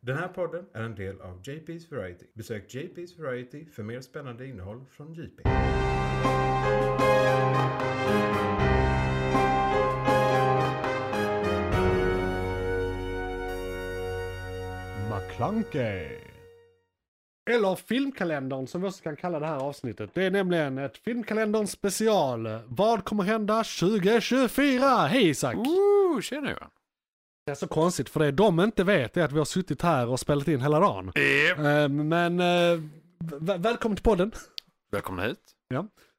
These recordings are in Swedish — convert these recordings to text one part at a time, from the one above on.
Den här podden är en del av JP's Variety. Besök JP's Variety för mer spännande innehåll från JP. McClunkey. Eller filmkalendern som vi också kan kalla det här avsnittet. Det är nämligen ett filmkalenderns special. Vad kommer hända 2024? Hej Isak! Mm. Ooh, tjena Johan. Det är så konstigt för det de inte vet är att vi har suttit här och spelat in hela dagen. Eh, Men eh, v- välkommen till podden. Välkomna hit.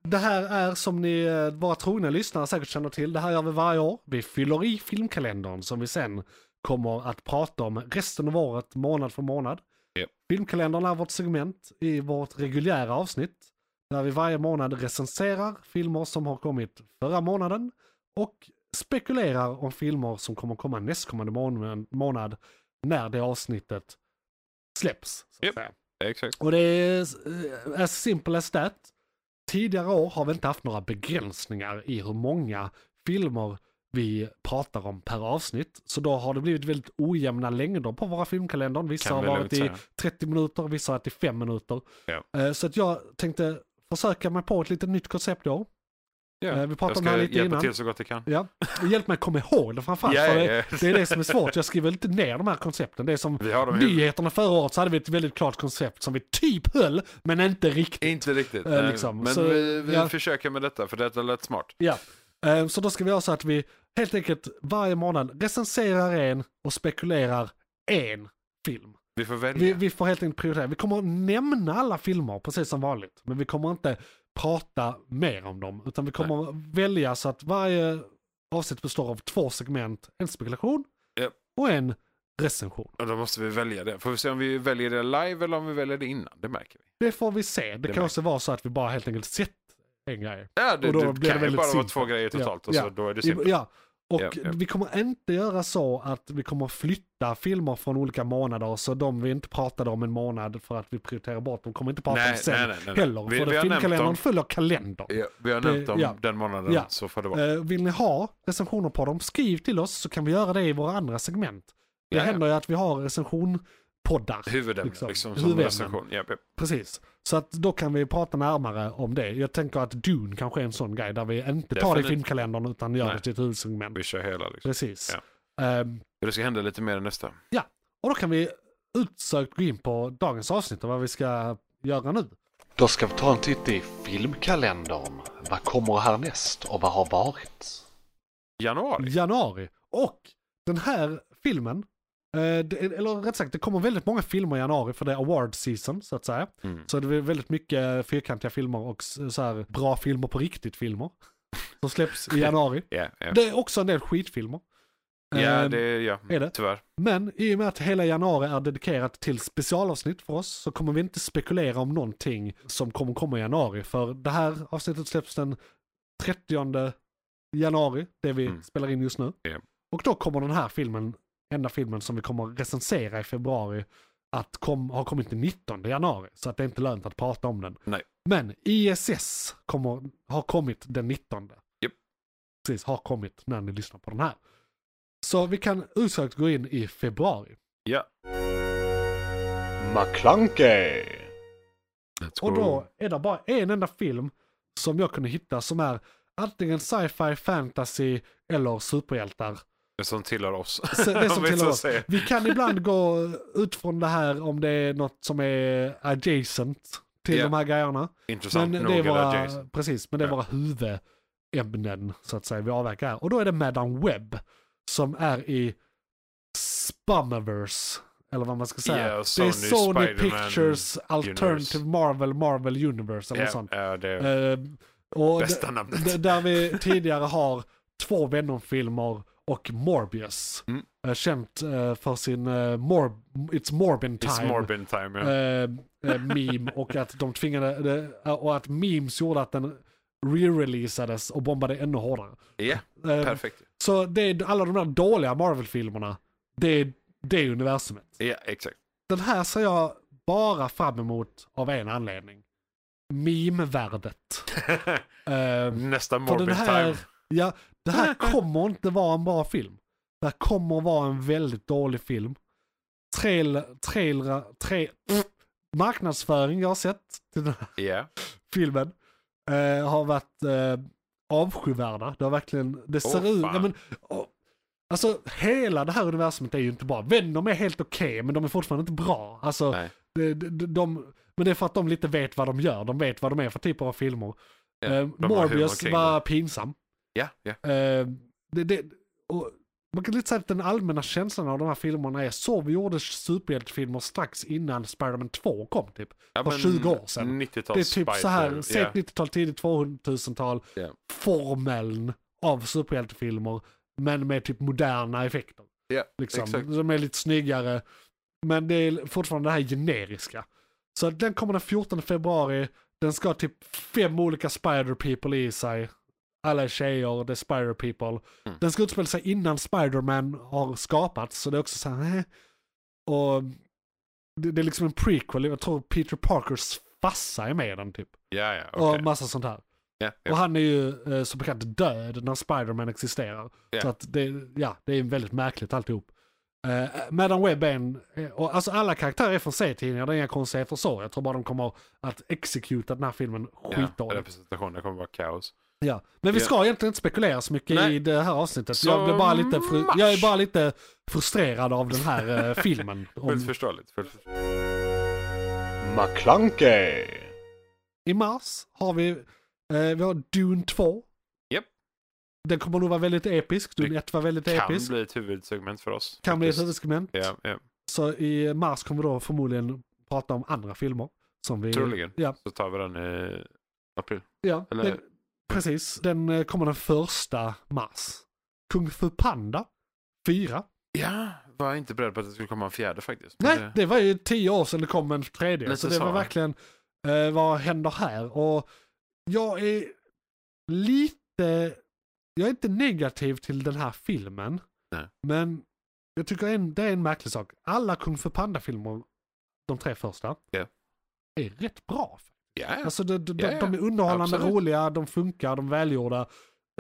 Det här är som ni, eh, våra trogna lyssnare säkert känner till, det här gör vi varje år. Vi fyller i filmkalendern som vi sen kommer att prata om resten av året, månad för månad. Japp. Filmkalendern är vårt segment i vårt reguljära avsnitt. Där vi varje månad recenserar filmer som har kommit förra månaden och spekulerar om filmer som kommer komma nästkommande mån- månad när det avsnittet släpps. Så att Japp. säga. Exakt. Och det är eh, as simple as that. Tidigare år har vi inte haft några begränsningar i hur många filmer vi pratar om per avsnitt. Så då har det blivit väldigt ojämna längder på våra filmkalendern. Vissa Kan har vi lugnt varit i säga. 30 minuter, vissa har varit i 5 minuter. Ja. Eh, Så att jag tänkte försöka mig på ett litet nytt koncept i år. Ja. Eh, Vi Jag pratade om det ska här lite hjälpa innan. till så gott jag kan. Ja. Hjälp mig att komma ihåg det framförallt. Ja, för ja, det, ja. det är det som är svårt. Jag skriver inte ner de här koncepten. Det är som Vi har dem i huvudet. nyheterna förra året så hade vi ett väldigt klart koncept som vi typ höll, men inte riktigt. Inte riktigt. Eh, nej. liksom. Men Så, vi, vi ja. försöker med detta, för detta lät smart. Ja. Eh, Så då ska vi göra så att vi helt enkelt varje månad recenserar en och spekulerar en film. Vi får välja. Vi, vi får helt enkelt prioritera. Vi kommer att nämna alla filmer precis som vanligt, men vi kommer inte prata mer om dem, utan vi kommer att välja så att varje avsnitt består av två segment, en spekulation Japp. och en recension. Och då måste vi välja det. Får vi se om vi väljer det live eller om vi väljer det innan. Det märker vi. Det får vi se. Det, Det kan märks. också vara så att vi bara helt enkelt sett en grej. Ja, det, Och då blir det det kan ju väldigt bara vara simpelt. två grejer totalt och Ja. så då är det I- simpelt. Ja. Och Ja, ja. vi kommer inte göra så att vi kommer flytta filmer från olika månader, så de vi inte pratade om en månad för att vi prioriterar bort, de kommer inte prata om Nej, sen nej, nej, nej. heller. Vi- för vi det har nämnt filmkalendern dem. följer kalender. Ja, vi har Det- nämnt om ja. den månaden Ja. så får det vara. Eh, vill ni ha recensioner på dem, skriv till oss så kan vi göra det i våra andra segment. Det Ja, ja. händer ju att vi har recensionpoddar. Huvudämnen liksom. liksom, som Huvudämnen. recension. Ja, ja. Precis. Så att då kan vi prata närmare om det. Jag tänker att Dune kanske är en sån grej där vi inte tar det i Definitivt. filmkalendern utan gör Nej. det till ett huvudsegment. Vi kör hela liksom. Precis. Ehm, Det ska hända lite mer i nästa. och då kan vi utsökt gå in på dagens avsnitt och vad vi ska göra nu. Då ska vi ta en titt i filmkalendern. Vad kommer härnäst och vad har varit? Januari. Januari. Och den här filmen, eh, det, eller rätt sagt det kommer väldigt många filmer i januari för det är award season så att säga. Mm. Så det är väldigt mycket fyrkantiga filmer och s- så här bra filmer på riktigt-filmer. Som släpps i januari. Ja, ja. Det är också en del skitfilmer. ja, Eh, det ja. är det? Tyvärr. Men i och med att hela januari är dedikerat till specialavsnitt för oss så kommer vi inte spekulera om någonting som kommer komma i januari. För det här avsnittet släpps den 30 januari, det vi Mm. spelar in just nu. Ja. Och då kommer den här filmen, enda filmen som vi kommer recensera i februari, att kom, ha kommit den 19 januari. Så att det är inte lönt att prata om den. Nej. Men ISS kommer, har kommit den 19. Japp. Precis, har kommit när ni lyssnar på den här. Så vi kan osökt gå in i februari. Ja. McClunkey! Let's Och go. då är det bara en enda film som jag kunde hitta som är antingen sci-fi, fantasy eller superhjältar. Som tillhör oss. Så det Om som vi tillhör så oss. säger. Vi kan ibland gå ut från det här om det är något som är adjacent till Ja. de här grejerna. Men Intressant det nog. är eller våra, Jason. precis, men det är Ja. våra huvudämnen så att säga vi avverkar här. Och då är det Madame Webb som är i Spummerverse. Eller vad man ska säga. Ja, det är Sony Sony Spider-Man Pictures Alternative Universe. Marvel Marvel Universe eller Ja, något sånt. ja, det är Eh, och bästa d- namnet. d- där vi tidigare har två Venom-filmer och Morbius. Mm. Eh, känt eh, för sin eh, Mor- It's Morbin Time. It's Morbin time. Ja. eh, eh, meme och att de tvingade, det- och att memes gjorde att den re-releasades och bombade ännu hårdare. ja, Eh, perfekt. Så det är alla de där dåliga Marvel-filmerna, det är det är universumet. Ja, exakt. Den här ser jag bara fram emot av en anledning. Meme-värdet. Eh, Nästa för Morbin den här, time. ja, det här kommer inte vara en bra film. Det här kommer vara en väldigt dålig film. trail, trailra, tra- pff, marknadsföring jag har sett till den här Ja. filmen eh, har varit eh, avskyvärda. Det har verkligen, det ser Åh, ut, fan. ja, men, åh, alltså hela det här universumet är ju inte bra. Venom är helt okej, men de är fortfarande inte bra. Alltså, Nej. de, de, de, men det är för att de lite vet vad de gör, de vet vad de är för typer av filmer. Ja, eh, de har humor Morbius kring var pinsam. Ja, ja. Eh, det, det, och man kan lite säga att den allmänna känslan av de här filmerna är så vi gjorde superhjältefilmer strax innan Spider-Man 2 kom typ. Ja, För men 20 år sedan. 90-tals det är typ så här, Spider- ja. sent 90-tal, tidigt 2000-tal, Ja. formeln av superhjältefilmer, men med typ moderna effekter. Ja, Liksom. exakt. De är lite snyggare, men det är fortfarande det här generiska. Så den kommer den 14 februari, den ska ha typ fem olika spider-people i sig. Alla är tjejer, det är spider-people. Mm. Den ska utspela sig innan Spider-Man har skapats, så det är också så här, eh. Och det, det är liksom en prequel, jag tror Peter Parkers farsa är med i den typ. Ja, ja. Och okej. massa sånt här. Ja, Och ja. han är ju eh, som bekant död när Spider-Man existerar. Ja. Så att det, ja, det är väldigt märkligt alltihop. Eh, Madam Webb är en, eh, och alltså alla karaktärer är från C-tidningar, det är inga konstigheter så. Jag tror bara de kommer att executa den här filmen ja. skitdåligt. Representationen kommer vara kaos. Ja. Men vi Ja. ska egentligen inte spekulera så mycket Nej. i det här avsnittet. Så Jag, blir bara lite fru- mars. jag är bara lite frustrerad av den här eh, filmen. Fullt Om, förståeligt. Fullt förståeligt. McClunkey! I mars har vi, eh, vi har Dune 2. Japp. Den kommer nog vara väldigt episk. Dune 1 var väldigt Kan episk. bli ett huvudsegment för oss. kan bli ett faktiskt. huvudsegment. Ja, ja. Så i mars kommer vi då förmodligen prata om andra filmer. Som vi... Troligen. Ja, Så tar vi den i april. ja Eller- den, precis. Den eh, kommer den första mars. Kung Fu Panda 4. Ja, var inte beredd på att det skulle komma en fjärde faktiskt. Men Nej, det var ju tio år sedan det kom en tredje. Lite Så det så, var va? verkligen, eh, vad händer här? Och jag är lite, jag är inte negativ till den här filmen. Nej. Men jag tycker en, det är en märklig sak. Alla Kung Fu Panda-filmer, de tre första, Ja. är rätt bra. Ja, Alltså de, de, Ja, ja. de är underhållande, Absolut. roliga, de funkar, de är välgjorda.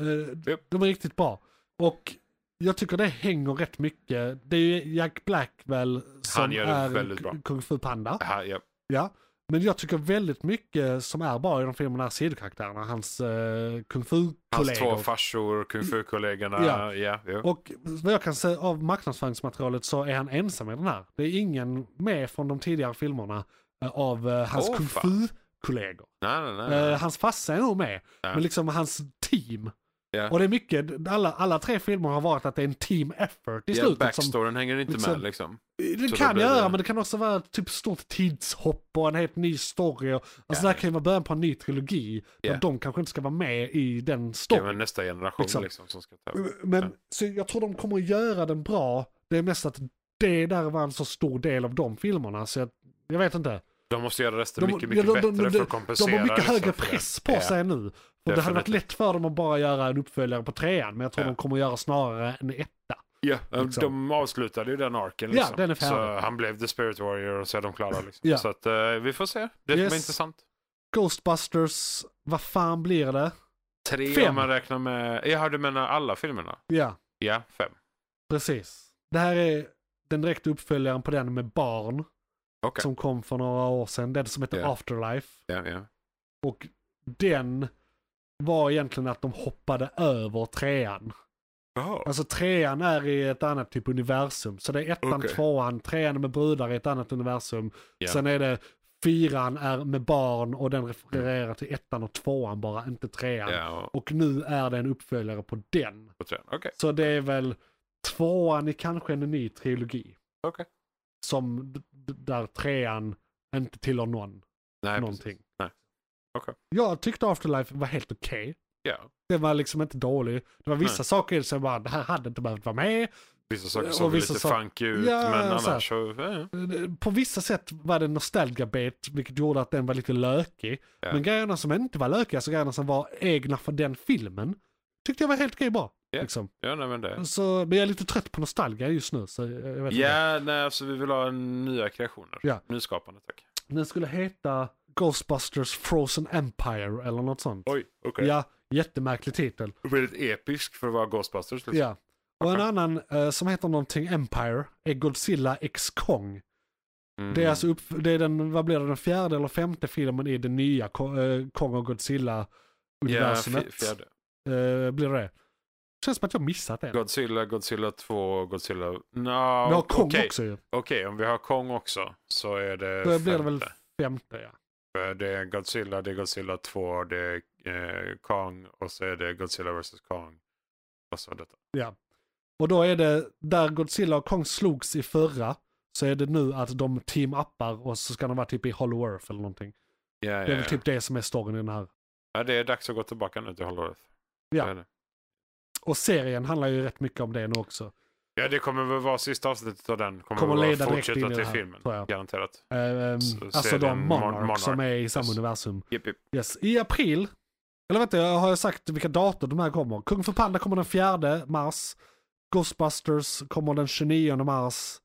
Eh, Japp. De är riktigt bra. Och jag tycker det hänger rätt mycket. Det är ju Jack Black väl som gör det är väldigt bra. Kung Fu Panda. ja, ja. Ja. Men jag tycker väldigt mycket som är bra i de filmerna är sidokaraktärerna. Hans eh, Kung Hans två Fu-kollegor. farsor, kung fu-kollegorna. Ja. Ja. Ja, jo. Och vad jag kan säga av marknadsföringsmaterialet så är han ensam i den här. Det är ingen med från de tidigare filmerna eh, av eh, hans Åh, Kung fan. Fu-kollegor. Nej, nej, nej. Eh, nej. hans farsa är nog med, Ja. men liksom hans team. Ja. Och det är mycket, alla, alla tre filmer har varit att det är en team effort i ja, slutet. Som, backstoryn hänger inte liksom- med liksom. det så då kan blir göra, det- men det kan också vara ett typ stort tidshopp och en helt ny story. Och, alltså det här kan ju vara början på en ny trilogi, där Ja. de kanske inte ska vara med i den Det är väl storyn. nästa generation Liksom. liksom. som ska ta över. Men så jag tror de kommer att göra den bra. Det är mest att det där var en så stor del av de filmerna, så jag, jag vet inte. De måste göra resten De- mycket, ja, mycket de- de- bättre de- för att De kompensera. har mycket liksom, högre för det. press på Ja. sig nu. För det hade varit Definitivt. lätt för dem att bara göra en uppföljare på trean, men jag tror Ja. de kommer att göra snarare en etta. Ja, Liksom. de avslutade ju den arken. Ja, Liksom. den är färdig. Så han blev The Spirit Warrior och så är de klara. Liksom. Ja. Så att, eh, vi får se. Det Yes. blir intressant. Ghostbusters, vad fan blir det? Tre Fem. om man räknar med... Jaha, du menar alla filmerna? Ja, Ja, fem. precis. Det här är den direkta uppföljaren på den med barn Okej. som kom för några år sedan. Den som heter Ja. Afterlife. Ja, ja. Och den var egentligen att de hoppade över trean. Alltså trean är i ett annat typ universum. Så det är ettan, Okej. tvåan, trean med brudar i ett annat universum. Ja. Sen är det fyran är med barn och den refererar till ettan och tvåan bara, inte trean. Ja, och, Och nu är det en uppföljare på den. och tre. Okej, Så det är väl tvåan i kanske en ny trilogi. okej. Som d- d- där trean inte tillhör någon, Nej, någonting. precis. Nej. Okej. Jag tyckte Afterlife var helt okej. Ja. Den var liksom inte dålig. Det var vissa Nej. saker i det som jag bara, det här hade inte behövt vara med. Vissa saker Och såg vissa lite saker- funky ut, Ja, men så här. annars så... eh, på vissa sätt var det nostalgabait, vilket gjorde att den var lite lökig. Ja. Men grejerna som inte var lökiga, alltså grejerna som var egna för den filmen, tyckte jag var helt okej bra. Ja. Liksom. Ja, nej men det... Så, men jag är lite trött på nostalgia just nu. Så jag jag vet inte. Ja, nej alltså vi vill ha en nya kreationer. Ja. Nyskapande, tack. Den skulle heta Ghostbusters Frozen Empire eller något sånt. Oj, okej. Ja, jättemärklig titel. Väldigt episk för att vara Ghostbusters. Liksom. Ja. Och en annan eh, som heter någonting Empire är Godzilla X Kong. Mm. Det är alltså upp, det är den, vad blir det, den fjärde eller femte filmen i det nya Ko- eh, Kong och ja, Godzilla-universumet. f- fjärde. Eh, blir det. Känns som att jag missat det. Godzilla, Godzilla 2, Godzilla... No, Vi har Kong okej. också ju. Okej, om vi har Kong också så är det Då blir det väl femte. femte ja. För Det är Godzilla, det är Godzilla 2, det är eh, Kong och så är det Godzilla vs Kong. Och så detta. Och då är det, där Godzilla och Kong slogs i förra, så är det nu att de team-appar och så ska de vara typ i Hollow Earth eller någonting. Ja, ja, Det är väl ja. typ det som är storyn i den här. ja, det är dags att gå tillbaka nu till Hollow Earth. Ja. Det är det. Och serien handlar ju rätt mycket om det nu också. ja, det kommer väl vara sista avsnittet av den. Kommer, Kommer väl leda vara direkt fortsätta in i det till här, filmen. tror jag. Garanterat. Ehm, Så alltså serien de Monarch, Mon- Monarch, som är i samma yes. universum. Jipp, jipp. Yes. I april, eller vänta, jag har ju sagt vilka datum de här kommer. Kung för Panda kommer den 4 mars. Ghostbusters kommer den 29 mars.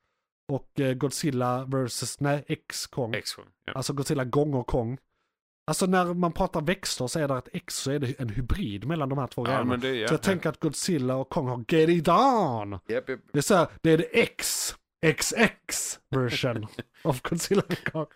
Och eh, Godzilla vs. Nej, X-Kong. X-Kong. Ja. Alltså Godzilla gånger Kong. Alltså när man pratar växter så är det ett X så är det en hybrid mellan de här två ja, grejerna. men det är... så jag tänker att Godzilla och Kong har Get It On! Japp, japp. Det är så här, det är det X, XX version av Godzilla och Kong.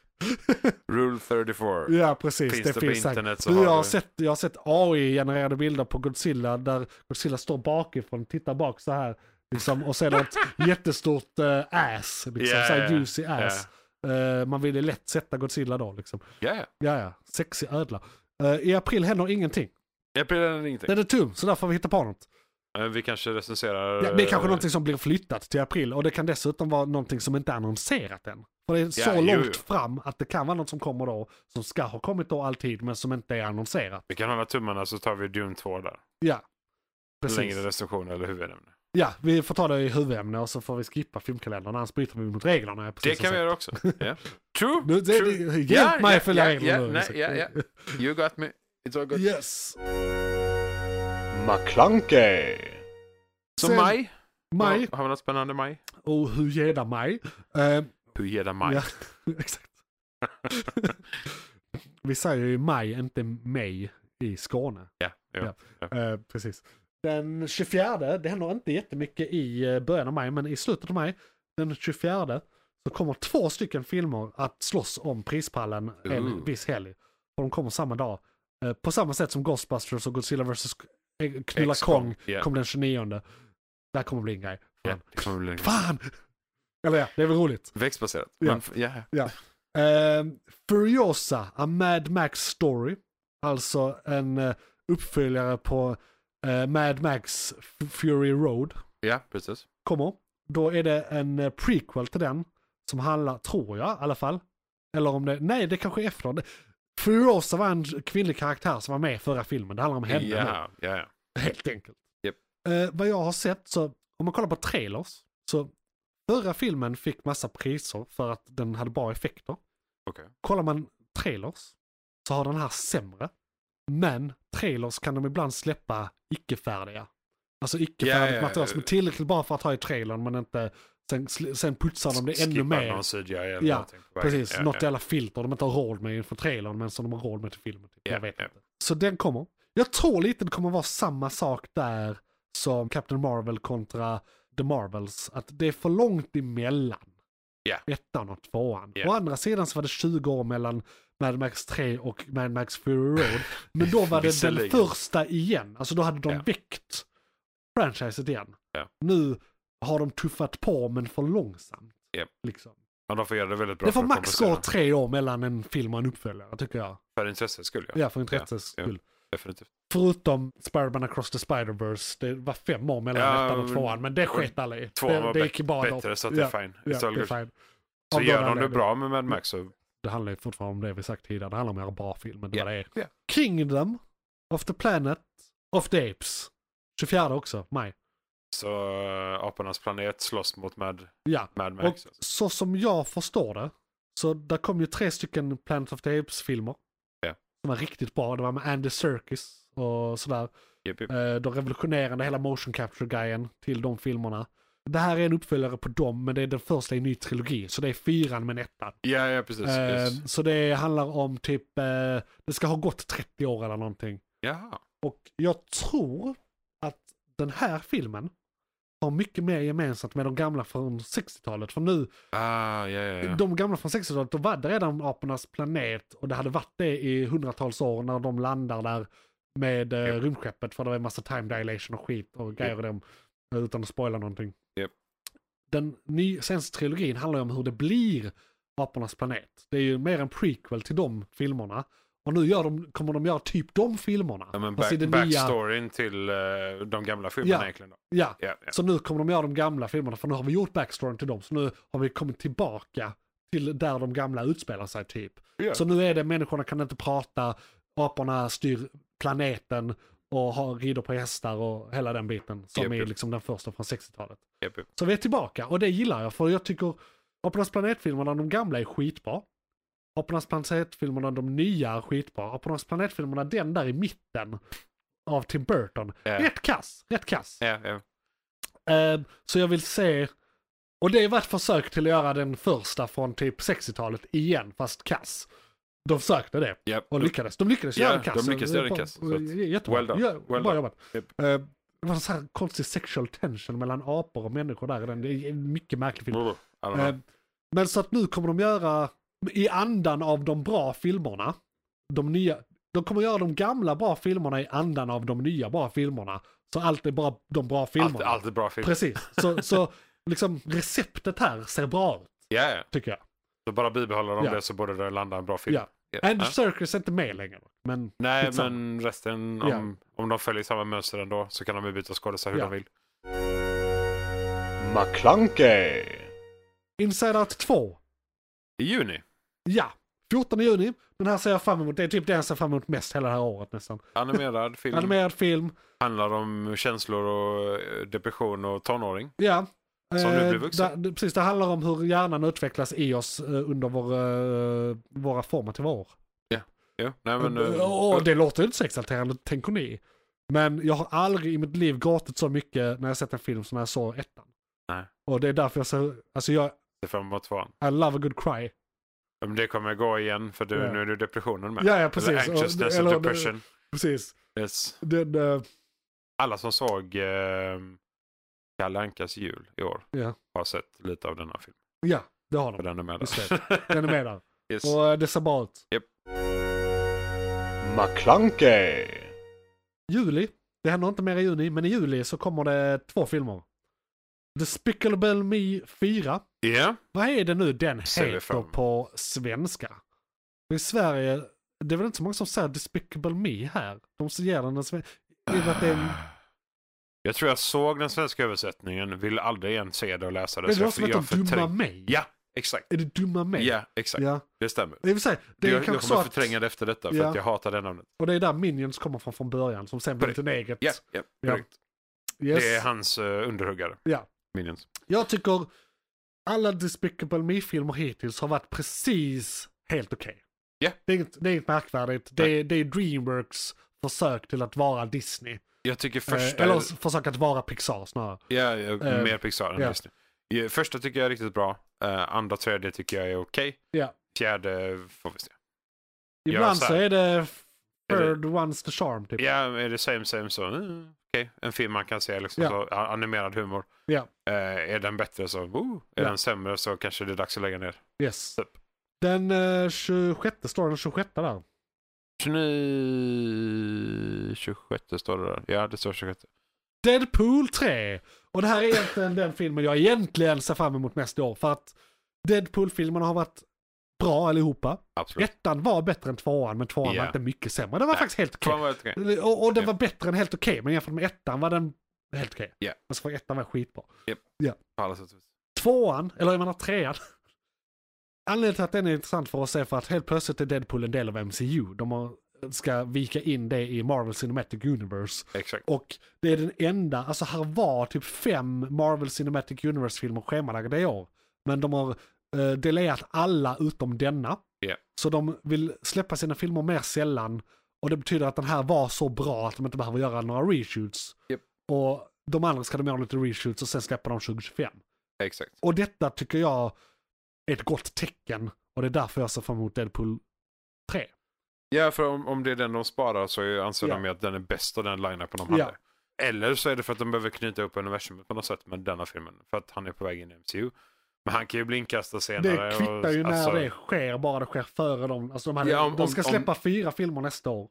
Rule 34. Ja, precis. Finns det, det på finns säkert. internet så du, har jag, har du- sett, jag har sett AI-genererade bilder på Godzilla där Godzilla står bakifrån, tittar bak så här. Liksom, och sen ett jättestort eh, ass, liksom, Ja, så här ja, juicy ass. Eh, man ville lätt sätta Godzilla då. Liksom. Ja, ja. Ja, ja. Sexig ödla. Eh, I april händer ingenting. Jag blir ingenting. Den är tom, så där får vi hitta på något. Eh, Vi kanske recenserar... eh, Det, det är kanske någonting som blir flyttat till april och det kan dessutom vara någonting som inte är annonserat än. För det är så Ja, jo, långt jo. fram att det kan vara något som kommer då, som ska ha kommit då alltid, men som inte är annonserat. Vi kan hålla tummarna så tar vi Dune 2 där. Ja, precis. Längre recension eller huvudämne. Ja, vi får ta det i huvudämne och så får vi skippa filmkalendern, annars bryter vi mot reglerna. jag Det precis kan vi har göra också. Ja. True, Nu- det- true. det- hjälp Ja, mig ja, följa ja, reglerna ja, nu, nej, Isak. ja, ja. You got me. It's all sagt. good. Yes! McClunkey. Så Sen- maj. Maj, Har, har vi något spännande maj? och hur geda maj. Eh, Hur ger det maj? Ja, exakt. vi säger ju maj, inte maj i Skåne. Ja, jo. Ja. Eh, precis. Den 24, det händer inte jättemycket i eh, början av maj, men i slutet av maj, den 24, så kommer två stycken filmer att slåss om prispallen en Ooh. viss helg. Och de kommer samma dag. Eh, på samma sätt som Ghostbusters och Godzilla vs. K- eh, Knulla X-Kong, Kong ja. kom den 29. Där kommer bli en grej. Ja, Fan. det kommer bli Fan! Eller ja, det är väl roligt. Växtbaserat. Ja. Men, f- ja. Eh, Furiosa, A Mad Max Story. Alltså en eh, uppföljare på eh, Mad Max F- Fury Road. ja, precis. Kommer. Då är det en eh, prequel till den. Som handlar, tror jag i alla fall. Eller om det, nej det kanske är efter. Det- Furiosa var en kvinnlig karaktär som var med i förra filmen. Det handlar om Ja, henne nu. ja, ja. Helt enkelt. Japp. Eh, vad jag har sett så, om man kollar på trailers, så förra filmen fick massa priser för att den hade bra effekter. Okej. Kollar man trailers så har den här sämre. Men trailers kan de ibland släppa icke-färdiga. Alltså Ja, icke-färdigt ja, ja. material som är tillräckligt bra för att ha i trailern men inte, sen, sl- sen putsar de det ännu Skippa mer. någon CGI eller Ja, någonting på vägen. Precis, ja, något ja. jävla filter de inte har råd med inför trailern men som de har råd med till filmen. Typ. Ja, jag vet ja. inte. Så den kommer. Jag tror lite det kommer vara samma sak där som Captain Marvel kontra The Marvels. Att det är för långt emellan. Ja. Ettan och tvåan. Ja. Å andra sidan så var det 20 år mellan Mad Max 3 och Mad Max Fury Road. Men då var det den Visserligen. första igen. Alltså då hade de Ja. väckt franchiset igen. Ja. Nu har de tuffat på men för långsamt. Ja. Liksom. Men de får göra det väldigt bra. Det får för att max kompensera. gå tre år mellan en film och en uppföljare tycker jag. För intressets skull, ja. Ja, för intressets ja. skull. Definitivt. Förutom Spider-Man across the Spider-Verse, det var fem år mellan Ja, ettan och men- tvåan, men det sket alla i. Tvåan det, var det gick ju bara bättre, då. så att det är ja, fine. It's ja, all det är good. fine. Så Av gör båda de det anledningar. bra med Mad Max så... Det handlar ju fortfarande om det vi sagt tidigare, det handlar om att göra bra filmer. Det Ja, var det är. ja. Kingdom of the Planet of the Apes. 24 också, maj. Så äh, apornas planet slåss mot Mad, Ja, Mad Max. och alltså. så som jag förstår det, så där kom ju tre stycken Planet of the Apes-filmer. Ja. Som var riktigt bra, det var med Andy Serkis och sådär. Japp, japp. Eh, De revolutionerade hela motion capture-grejen till de filmerna. Det här är en uppföljare på dem, men det är den första i en ny trilogi. Så det är fyran med en etta. Ja, ja, precis. Eh, precis. Så det handlar om typ, eh, det ska ha gått 30 år eller någonting. Jaha. Och jag tror att den här filmen har mycket mer gemensamt med de gamla från 60-talet. För nu, Ah, ja, ja, ja. de gamla från 60-talet, då var det redan apornas planet och det hade varit det i hundratals år när de landar där med eh, Japp. rymdskeppet för det var en massa time dilation och skit och grejer Japp. och dem eh, utan att spoila någonting. Japp. Den ny, senaste trilogin handlar ju om hur det blir apornas planet. Det är ju mer en prequel till de filmerna. Och nu gör de, kommer de göra typ de filmerna. Ja, men Fast i back, det nya- backstoryn till eh, de gamla filmerna Ja. egentligen. Då. Ja, Ja, ja. så nu kommer de göra de gamla filmerna, för nu har vi gjort backstoryn till dem. Så nu har vi kommit tillbaka till där de gamla utspelar sig typ. Ja. Så nu är det människorna kan inte prata, aporna styr planeten och har, rider på hästar och hela den biten. Som Japp, är japp. liksom den första från 60-talet. Japp, japp. Så vi är tillbaka och det gillar jag för jag tycker Apornas planetfilmerna, de gamla är skitbra. Apornas planetfilmerna, de nya är skitbra. Apornas planetfilmerna, den där i mitten av Tim Burton. Ja. Rätt kass, rätt kass. Ja, ja. Ehm, så jag vill se, och det var ett försök till att göra den första från typ 60-talet igen, fast kass. De försökte det Ja. och lyckades. De lyckades Ja, göra en de kass. lyckades göra en På- kass, så på- att- Jättebra. well done, Ja, well bra done. jobbat. Japp. Ehm, det var en sån här konstig sexual tension mellan apor och människor där. i den. Det är en mycket märklig film. Brr, I don't know. Eh, Men så att nu kommer de göra, i andan av de bra filmerna, de nya, de kommer göra de gamla bra filmerna i andan av de nya bra filmerna. Så allt är bara de bra allt, filmerna. allt är bra film. Precis, så, så liksom receptet här ser bra ut, Ja, ja. tycker jag. Så bara bibehåller de Ja. det så borde det landa en bra film. Ja. Ja. Andy Ja. Serkis är inte med längre. Men Nej, skitsamma. men resten, om, om de följer samma mönster ändå så kan de ju byta skådisar hur Ja. de vill. McClunkey. Inside Out 2, I juni. ja. 14 juni, den här ser jag fram emot. Det är typ det jag ser fram emot mest hela det här året nästan. Animerad film. Animerad film, Handlar om känslor och eh, depression och tonåring. Ja. Som nu Eh, blir vuxen. där- det- precis, det handlar om hur hjärnan utvecklas i oss eh, under vår, eh, våra formativa år. Ja, nej men... eh, och, och det låter ju inte så exalterande, tänker ni. Men jag har aldrig i mitt liv gråtit så mycket när jag sett en film som när jag såg ettan. Nej. Och det är därför jag så, alltså jag, det är fram emot tvåan. I love a good cry. Ja, men Det kommer gå igen för du, Ja. nu är du depressionen med. Ja, ja Eller precis. anxiousness eller, and depression. precis. Yes. Den, eh, Alla som såg eh, Kalle Ankas jul i år Ja. har sett lite av denna film. ja, det har För de. den är med Just där. Den är med där. yes. Och eh, det ser bra ut. McClunkey. juli. Det händer inte mer i juni, men i juli så kommer det två filmer. Despicable Me 4. Ja, Vad är det nu den Ser vi heter fram emot. på svenska? I Sverige, det är väl inte så många som säger Despicable Me här? De som ger den den svenska... Att det är en... Ah, Jag tror jag såg den svenska översättningen, vill aldrig igen se det och läsa det. Är det så någon jag- som jag heter Dumma förträng- mig? Ja, exakt. Är det Dumma mig? Ja, exakt. ja. Det stämmer. Det vill säga, det är jag, jag kanske kommer så att... förtränga det efter detta för Ja. att jag hatar det namnet. Och det är där Minions kommer från från början, som sen blev Precis. till eget. Ja, ja, Ja. korrekt. Yes. Det är hans eh, underhuggare. Ja. Minions. Jag tycker alla Despicable Me-filmer hittills har varit precis helt okej. Ja. Det, är inget- det är inget märkvärdigt. Det är, det är Dreamworks försök till att vara Disney. Jag tycker första... Eh, eller s- försök att vara Pixar snarare. Ja, ja, Eh, mer Pixar än ja. Disney. Ja, Första tycker jag är riktigt bra. Eh, andra, tredje tycker jag är okej. Ja. Fjärde får vi se. Ja, Ibland så så här. är det Är det- third one's the charm typ. Ja, är det same same så mm, okej. En film man kan se liksom Ja. så, a- animerad humor. Ja. Eh, är den bättre så, oh, är Ja. den sämre så kanske det är dags att lägga ner. Yes. Typ. Den eh, 26, står den 26 där? 29... 26 står det där. Ja, det står 26. Deadpool 3. Och det här är egentligen den filmen jag egentligen ser fram emot nästa år. För att Deadpool-filmerna har varit bra allihopa. Absolut. Ettan var bättre än tvåan, men tvåan var Ja. inte mycket sämre. Den var Nej. faktiskt helt okej. Fan vad jag Och, och den Ja. var bättre än helt okej, men jämfört med ettan var den helt okej. Ja. Men så var ettan var skitbra. på alla sätt alltså, och vis. Tvåan, eller jag menar trean. Anledningen till att den är intressant för oss är för att helt plötsligt är Deadpool en del av MCU. De har, ska vika in det i Marvel Cinematic Universe. Exakt. Och det är den enda, alltså här var typ fem Marvel Cinematic Universe-filmer schemalagda i år. Men de har eh, delayat alla utom denna. Ja. Så de vill släppa sina filmer mer sällan. Och det betyder att den här var så bra att de inte behöver göra några reshoots. Japp. Och de andra ska de göra lite reshoots och sen släppa dem 2025. Exakt. Och detta tycker jag är ett gott tecken. Och det är därför jag ser fram emot Deadpool 3. Ja, för om, om det är den de sparar så anser Ja. de ju att den är bäst av den line-upen de Ja. hade. Eller så är det för att de behöver knyta upp universumet på något sätt med denna filmen. För att han är på väg in i MCU. Men han kan ju bli inkastad senare. Det kvittar ju och, när alltså, det sker, bara det sker före dem. Alltså de, hade, Ja, om- de ska om- släppa fyra filmer nästa år.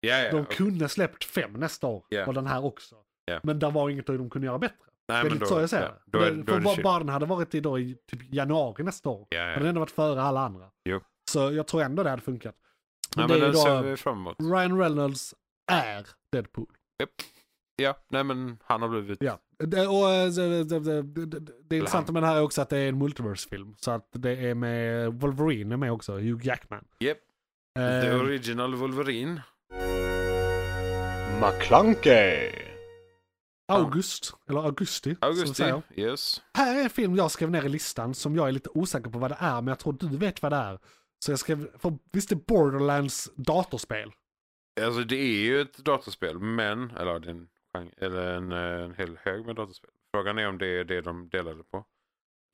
Ja, ja, De okej. kunde släppt fem nästa år, Ja. och den här också. Ja. Men det var inget de kunde göra bättre. Nej, det är men lite då- så jag säger ja, Då det. är, Men då är för det bara, shit. bara den hade varit i, då i typ januari nästa år. Ja, ja. Hade den ändå varit före alla andra. Jo. Så jag tror ändå det hade funkat. Nej, Men men alltså- det är den ser ju vi då fram emot. Ryan Reynolds är Deadpool. Ja, nej men han har blivit... Ja. Det, och, eh, det, det, det, det, det intressanta med den här är också att det är en multiverse-film. Så att det är med Wolverine är med också, Hugh Jackman. Yep. The Eh, original Wolverine. McClunkey! August, eller augusti. som vi Augusti. säger. Yes. Här är en film jag skrev ner i listan som jag är lite osäker på vad det är, men jag tror du vet vad det är. Så jag skrev, för visst är Borderlands datorspel? Alltså det är ju ett datorspel, men... Eller, det är en, genre- eller en, eh, en hel hög med datorspel. Frågan är om det är det de delade på.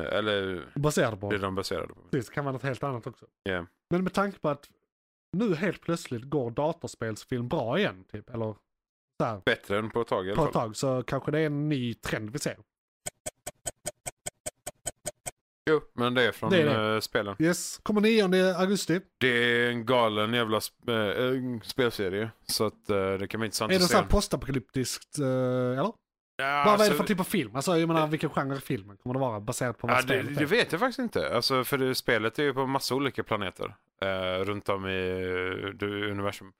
Eh, Eller Baserat på. det de baserade på. Precis, kan vara något helt annat också. Ja. Men med tanke på att nu helt plötsligt går datorspelsfilm bra igen, typ, eller så här, Bättre än på ett tag i alla på fall. ett tag, så kanske det är en ny trend vi ser. Jo, men det är från Det är det. eh, spelen. Yes, kommer 9 augusti. Det är en galen jävla sp- eh, eh, spelserie. Så att eh, det kan bli intressant Är att det se. så här postapokalyptiskt, eh, eller? Ja, Vad vad är det alltså- för typ av film? Alltså jag menar vilken genre film kommer det vara baserat på vad Ja, det, spelet är? det vet jag faktiskt inte. Alltså, för det, spelet är ju på massa olika planeter. Eh, runt om i eh, det universum.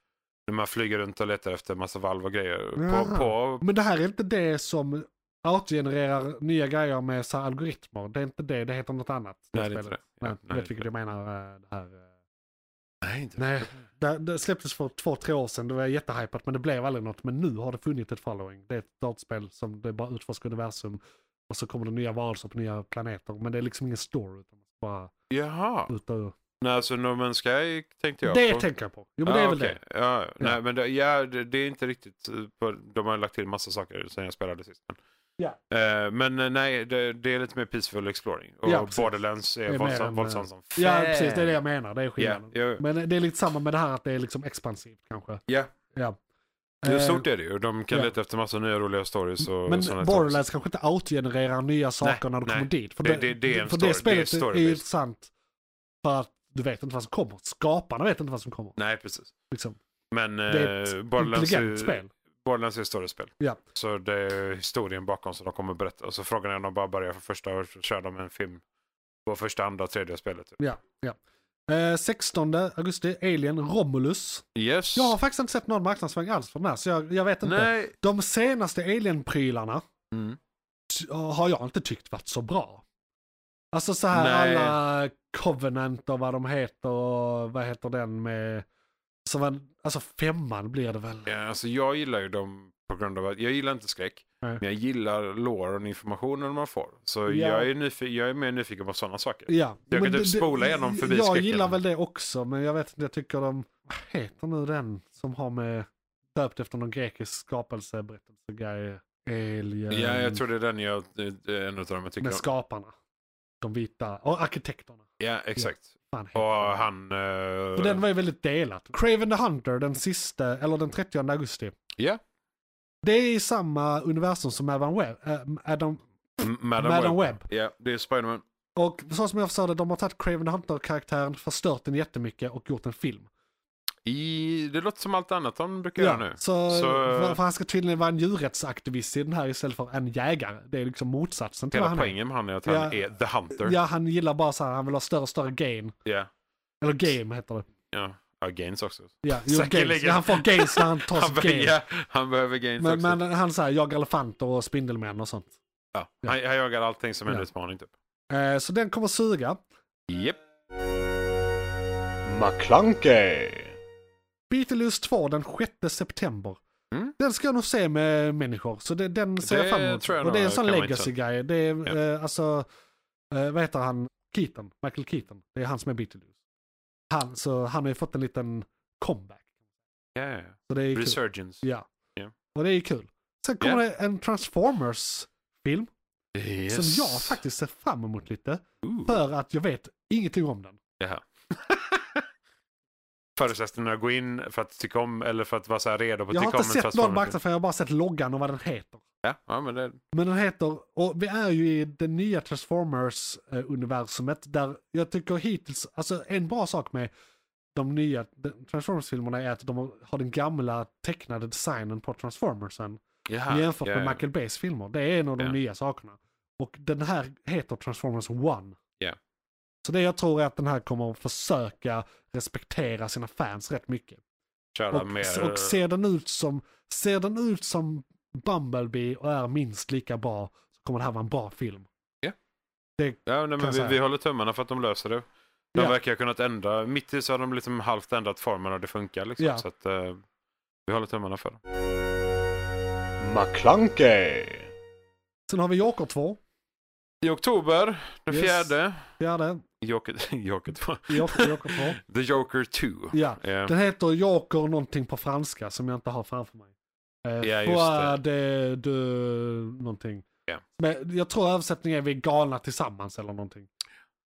När man flyger runt och letar efter massa valv och grejer. På, Jaha. på, Men det här är inte det som autogenererar nya grejer med så här algoritmer. Det är inte det, det heter något annat. Nej, det är inte spelet. det. Ja, Nej, du nej, vet det är vilket jag menar. eh, Det, här. eh. nej, inte. Nej, det, det släpptes för två, tre år sedan. Det var jättehypat men det blev aldrig något. Men nu har det funnits ett following. Det är ett dataspel som det bara utforskar universum. Och så kommer det nya varelser på nya planeter. Men det är liksom ingen story. Utan bara Jaha. ut och... Nej, alltså No Man's Sky tänkte jag det på. tänker jag på. Jo men det Ah, är väl det. Ja, ja. Nej, men det, ja, det, det är inte riktigt. eh, På, de har lagt till massa saker sen jag spelade sist. Men, Eh, men eh, nej, det, det är lite mer peaceful exploring. Och Ja, precis. Borderlands Det är är mer våldsam, än, våldsam eh, som fan. Ja precis, det är det jag menar. Det är Ja, skillnaden. ja, Men det är lite samma med det här att det är liksom expansivt kanske. ja. Ja. Jo, Eh, stort är det ju. De kan ja. leta efter massa nya roliga stories och Men sådana Borderlands kanske inte outgenererar nya saker när du nej. kommer dit. För Det- det- det är en för story- det är det spelet är, story-based. ju intressant för att du vet inte vad som kommer. Skaparna vet inte vad som kommer. Nej, precis. Liksom. Men Det är ett eh, Borderlands, är, Intelligent spel. Borderlands är ett större spel. Ja. Så det är historien bakom som de kommer att berätta. Och så frågan är om de bara börjar från första och så kör de en film på första, andra, tredje spelet. Typ. ja, ja. Eh, 16 augusti, Alien Romulus. Yes. Jag har faktiskt inte sett någon marknadsföring alls för den här, så jag, jag vet inte. Nej. De senaste Alien-prylarna Mm. t- har jag inte tyckt varit så bra. Alltså så här Nej. alla Covenant och vad de heter och vad heter den med... Som en, alltså femman blir det väl? Ja, alltså jag gillar ju dem på grund av att jag gillar inte skräck. Nej. Men jag gillar låren och informationen man får. Så Ja. jag, är nyfi- jag är mer nyfiken på sådana saker. Ja. Jag men kan typ det- det- spola igenom förbi Jag skräcken. gillar väl det också, men jag vet inte, jag tycker de... Vad heter nu den som har med... Döpt efter någon grekisk skapelseberättelse, guy, Alien... Ja, jag tror det är den jag, det är en av dem jag tycker Med om. skaparna. De vita, och arkitekterna. Ja, exakt. Fan, heter Och de? han... eh, För den var ju väldigt delad. Craven the Hunter, den sista, eller den 30 augusti. Ja. Det är i samma universum som Adam Webb. eh, Adam, M- Madam, Madam Web. Webb. Ja, det är Spiderman. Och så som jag förstår det, de har tagit Craven the Hunter-karaktären, förstört den jättemycket och gjort en film. I, det låter som allt annat de brukar göra nu. Så, Så- För, för han ska tydligen vara en djurrättsaktivist i den här istället för en jägare. Det är liksom motsatsen till vad Hela han är. poängen med han är att Ja. han är The Hunter. Ja. Ja, han gillar bara så här, han vill ha större och större gain. Ja. Eller game heter det. Ja. Gains också. Ja, jo, Säkerligen. gains. Ja, han får gains när han tar Han, sitt be- gain. ja, han behöver gains Men, också. men han så här, jagar elefanter och spindelmän och sånt. ja. han, han jagar allting som är en Ja. utmaning typ. Eh, så den kommer suga. Japp. McClunkey! Beetlejuice 2 den 6 september. Mm. Den ska jag nog se med människor, så det, den ser Det jag fram emot. tror jag och det är en nog sån kan vara legacy-grej. Det är eh, alltså, eh, vad heter han, Keaton, Michael Keaton. Det är han som är Beetlejuice. Han, så han har ju fått en liten comeback. Ja, ja. ja. Så det är ju kul. Resurgence. Ja. Ja. Och det är ju kul. Sen kommer det en Transformers-film Yes. som jag faktiskt ser fram emot lite. Ooh. För att jag vet ingenting om den. Jaha. förutsättningarna att gå in för att tycka om eller för att vara så här redo på att Jag har tycka om inte en sett någon Transformers-film. marknadsföring, jag har bara sett loggan och vad den heter. Ja, ja, men det, Men den heter, och vi är ju i det nya Transformers-universumet där jag tycker hittills, alltså en bra sak med de nya Transformers-filmerna är att de har den gamla tecknade designen på Transformersen Jaha, jämfört Ah, ja, med ja. Michael Bays filmer. Det är en av de Ja. nya sakerna. Och den här heter Transformers One. Ja. Så det jag tror är att den här kommer att försöka respektera sina fans rätt mycket. Köra Och, mer... eh, och ser, den ut som, ser den ut som Bumblebee och är minst lika bra så kommer det här vara en bra film. Ja. Det, Ja, nej, men jag vi, säga. vi håller tummarna för att de löser det. De Ja. verkar ha kunnat ändra. Mitt i så har de liksom halvt ändrat formen och det funkar. Liksom, Ja. Så att, eh, vi håller tummarna för det. McClunkey. sen har vi Joker 2. I oktober, den Yes. fjärde. Fjärde. Joker, Joker 2. Joker, Joker 2. The Joker 2. Ja. Eh, Den heter Joker någonting på franska som jag inte har framför mig. Eh, Ja, just det. det. de någonting. Ja. Men jag tror översättningen är vi är galna tillsammans eller någonting.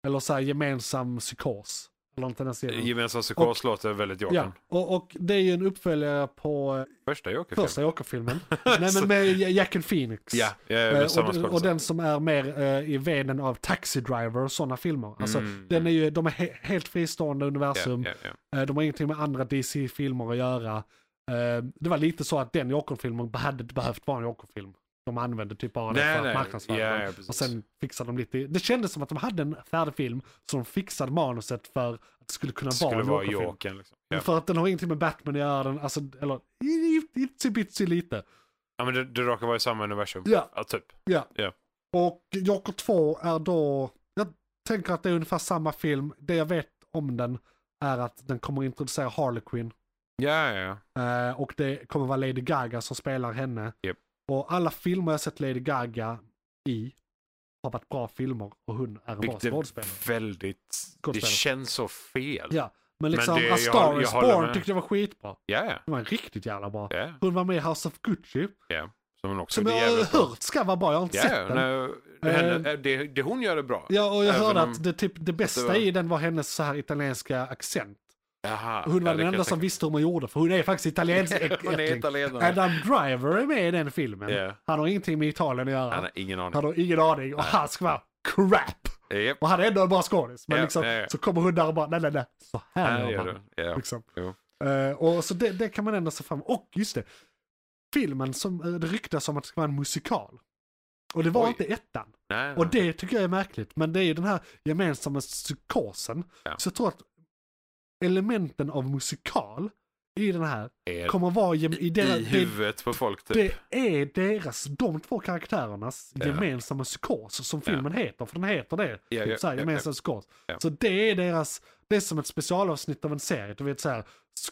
Eller så här gemensam psykos. Eller något i den stilen. Gemensam psykos låter väldigt Jokern. Ja, och, och det är ju en uppföljare på eh, Första Joker-filmen. första Joker-filmen. Nej men med Ja- Jack and Phoenix. Ja, ja Eh, med samma och, och skådespelare. den som är mer eh, i venen av Taxi Driver och sådana filmer. Alltså, Mm. den är ju, de är he- helt fristående universum. Ja, ja, ja. Eh, De har ingenting med andra DC-filmer att göra. Eh, Det var lite så att den Joker-filmen hade inte behövt vara en Joker-film. De använde typ bara det Nej, för nej. att marknadsföra Ja, den. ja, precis. och sen fixade de lite. Det kändes som att de hade en färdig film så de fixade manuset för att det skulle kunna Det skulle vara vara en Joker-film. Jokern. Liksom. Ja. För att den har ingenting med Batman att göra. Den, alltså, eller itsy-bitsy lite. ja, men det, det råkar vara i samma universum. Ja. typ. Ja. Ja. Och Joker 2 är då, jag tänker att det är ungefär samma film. Det jag vet om den är att den kommer introducera Harley Quinn. Ja, ja, ja. Eh, och det kommer vara Lady Gaga som spelar henne. Japp. Och alla filmer jag sett Lady Gaga i har varit bra filmer och hon är en bra Vilket skådespelare. är väldigt... Det Skådespelare. känns så fel. Ja, men liksom det- A jag Star håller- jag Is håller Born med. tyckte jag var skitbra. ja. ja. Det var riktigt jävla bra. ja. Hon var med i House of Gucci, Ja, som hon också som det är jag har jävligt bra. hört ska vara bra. Jag har inte Ja, sett ja, den. Eh. nej, henne, det, det hon gör är bra. Ja, och jag Även hörde om- att det, typ, det bästa var- i den var hennes så här italienska accent. Jaha, Hon var ja, det den kan enda jag som tänka visste hur man gjorde, för hon är faktiskt italiensk mig. Hon är ättling. italienare. Adam Driver är med i den filmen. Ja. Han har ingenting med Italien att göra. Han har ingen aning. Han har ingen aning och han ska vara crap. Japp, Och han är ändå en bra skådis. Men Ja, liksom, ja, ja. så kommer hundar och bara nej, nej, nej. Så här här gör gör man. du. Ja. Liksom. Jo. Eh, och så det, det kan man ändå se fram Och just det, filmen som eh, det ryktas om att det ska vara en musikal. Och det var Oj. inte ettan. Nej, Och det tycker jag är märkligt. Men det är ju den här gemensamma psykosen. Ja. Så jag tror att elementen av musikal i den här är kommer att vara gem- i, deras, I det- huvudet på folk typ. det är deras, de två karaktärernas Ja. gemensamma psykos som Ja. filmen heter, för den heter det. Ja, ja, typ såhär, ja, gemensam psykos. Ja. Så det är deras, det är som ett specialavsnitt av en serie. Du vet såhär,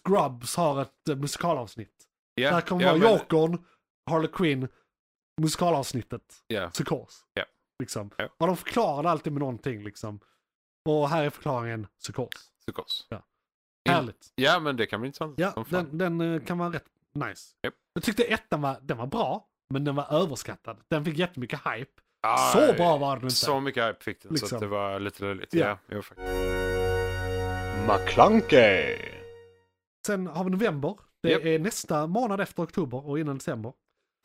Scrubs har ett eh, musikalavsnitt. ja. Där kommer ja, vara men- Jokern, Harley Quinn, musikalavsnittet, Ja. psykos. Ja. Liksom. Ja. Och de förklarar alltid med någonting liksom. Och här är förklaringen, psykos. Psykos. Ja. In- Härligt. Ja, men det kan bli intressant Ja, som fan. den, den eh, kan vara rätt nice. Japp. Jag tyckte ettan var, den var bra, men den var överskattad. Den fick jättemycket hype. Ah, så bra var den inte. Så mycket hype fick den så Liksom. att det var lite löjligt. Ja. Ja. jo, faktiskt. McClunkey. Sen har vi november. Det Japp. är nästa månad efter oktober och innan december.